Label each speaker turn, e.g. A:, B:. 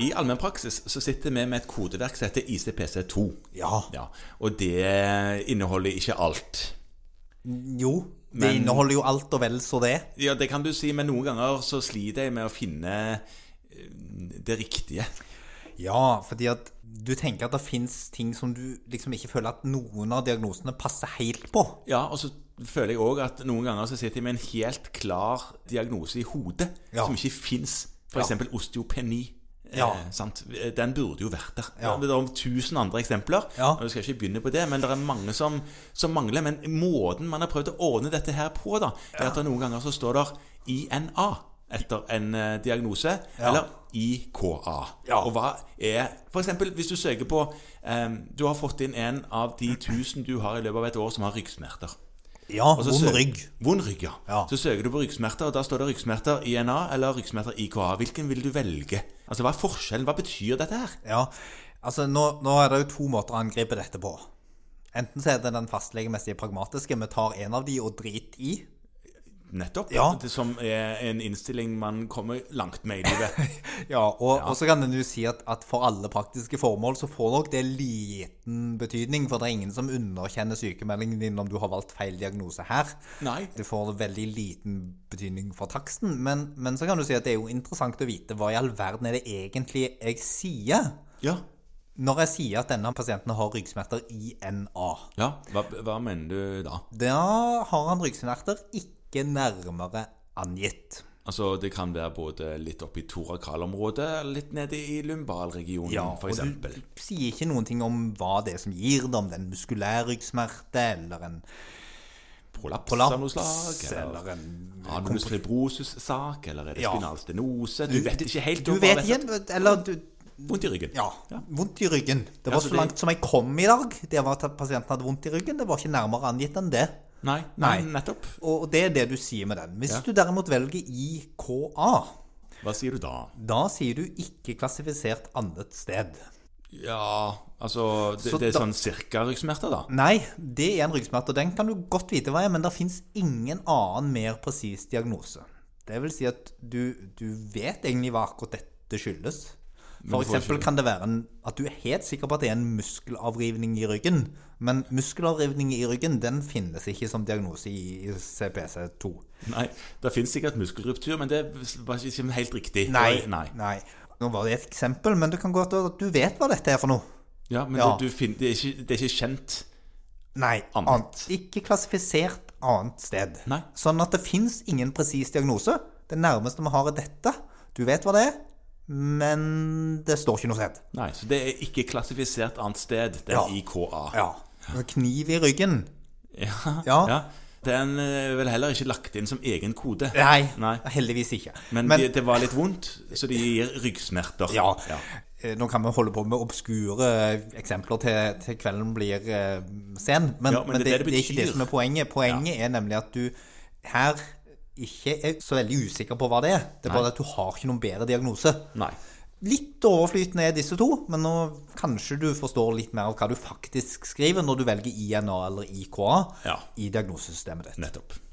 A: I allmennpraksis så sitter vi med et kodeverk som heter ICPC2.
B: Ja.
A: Ja, og det inneholder ikke alt.
B: Jo. Det
A: Men-
B: inneholder jo alt og vel så det.
A: Ja, det kan du si, men noen ganger så sliter jeg med å finne eh, det riktige.
B: Ja, fordi at du tenker at det fins ting som du liksom ikke føler at noen av diagnosene passer helt på.
A: Ja, og så føler jeg òg at noen ganger så sitter jeg med en helt klar diagnose i hodet
B: Ja.
A: som ikke fins. For
B: Ja.
A: eksempel osteopeni. Eh,
B: Ja.
A: sant? Den burde jo vært der.
B: Ja.
A: Det er om tusen andre eksempler.
B: Ja.
A: Og Vi skal ikke begynne på det, men det er mange som, som mangler. Men måten man har prøvd å ordne dette her på, da, er at det noen ganger så står der INA etter en eh, diagnose, eller IKA.
B: Ja.
A: Og hva er For eksempel hvis du søker på eh, Du har fått inn en av de tusen du har i løpet av et år som har ryggsmerter.
B: Ja,
A: Og så søk-
B: vond rygg.
A: Vond rygg, ja.
B: Ja.
A: Så søker du på ryggsmerter, og da står det ryggsmerter INA eller ryggsmerter IKA. Hvilken vil du velge? Altså, Hva er forskjellen? Hva betyr dette her?
B: Ja, altså nå, nå er det jo to måter å angripe dette på. Enten så er det den fastlegemessige pragmatiske, vi tar en av de og drit i.
A: Nettopp.
B: Ja.
A: Det som er en innstilling man kommer langt med i livet.
B: Ja, og, og så kan en jo si at, at for alle praktiske formål så får nok det liten betydning, for det er ingen som underkjenner sykemeldingen din om du har valgt feil diagnose her.
A: Nei.
B: Det får veldig liten betydning for taksten, men, men så kan du si at det er jo interessant å vite hva i all verden er det egentlig jeg sier
A: Ja.
B: når jeg sier at denne pasienten har ryggsmerter i NA.
A: ja. Hva, hva mener du da?
B: Da har han ryggsmerter ikke nærmere angitt.
A: Altså, Det kan være både litt oppe i torakalområdet, litt nede i lumbalregionen, for f.eks.
B: og du sier ikke noen ting om hva det er som gir det, om det er en muskulær ryggsmerte eller en
A: Prolaps
B: prolaps
A: av noe slag? Eller
B: eller en
A: har du muskelbrosus-sak? Eller er det
B: Ja.
A: spinalstenose? Du vet ikke helt.
B: Du
A: om hva
B: vet
A: det er.
B: ikke, eller du
A: Vondt i ryggen.
B: Ja. Vondt i ryggen. Det var
A: så
B: så
A: det-
B: langt som jeg kom i dag. Det var at pasienten hadde vondt i ryggen. Det var ikke nærmere angitt enn det.
A: Nei, nei,
B: Nei.
A: nettopp.
B: Og det er det du sier med den. Hvis
A: Ja.
B: du derimot velger IKA,
A: Hva sier du da?
B: da sier du ikke klassifisert annet sted.
A: Ja, altså Det,
B: Så
A: det er
B: da-
A: sånn cirka ryggsmerter, da?
B: Nei, det er en ryggsmerte, og den kan du godt vite hva er, men det fins ingen annen mer presis diagnose. Det vil si at du, du vet egentlig hva akkurat dette skyldes. For
A: du får
B: eksempel
A: ikke-
B: kan det være en, at du er helt sikker på at det er en muskelavrivning i ryggen, men muskelavrivning i ryggen den finnes ikke som diagnose i, i CPC2.
A: Nei, Det fins sikkert muskelruptur, men det var ikke helt riktig. Det var- nei.
B: Nei. Nå var det et eksempel, men det kan godt være at du vet hva dette er for noe.
A: Ja, Men
B: Ja.
A: Du, du fin- det, er ikke, det er ikke kjent.
B: Nei,
A: Annet.
B: annet. Ikke klassifisert annet sted.
A: Nei.
B: Sånn at det fins ingen presis diagnose. Det nærmeste vi har er dette. Du vet hva det er, men det står ikke noe sted.
A: Nei, Så det er ikke klassifisert annet sted. Det er
B: Ja.
A: IKA.
B: Ja. Kniv i ryggen.
A: Ja.
B: Ja.
A: ja. Den er vel heller ikke lagt inn som egen kode.
B: Nei,
A: Nei.
B: heldigvis ikke.
A: Men, det, det var litt vondt, så det gir ryggsmerter.
B: ja. Eh, Nå kan vi holde på med obskure eh, eksempler til, til kvelden blir eh, sen, men,
A: Ja, men
B: men
A: det
B: det,
A: er det det
B: det er ikke det
A: betyr.
B: som er poenget. Poenget er nemlig at du her ikke er så veldig usikker på hva det er. Det er bare at du har ikke noen bedre diagnose.
A: Nei.
B: Litt overflytende er disse to, men nå kanskje du forstår litt mer av hva du faktisk skriver når du velger INA eller IKA
A: Ja.
B: i diagnosesystemet ditt.
A: Nettopp.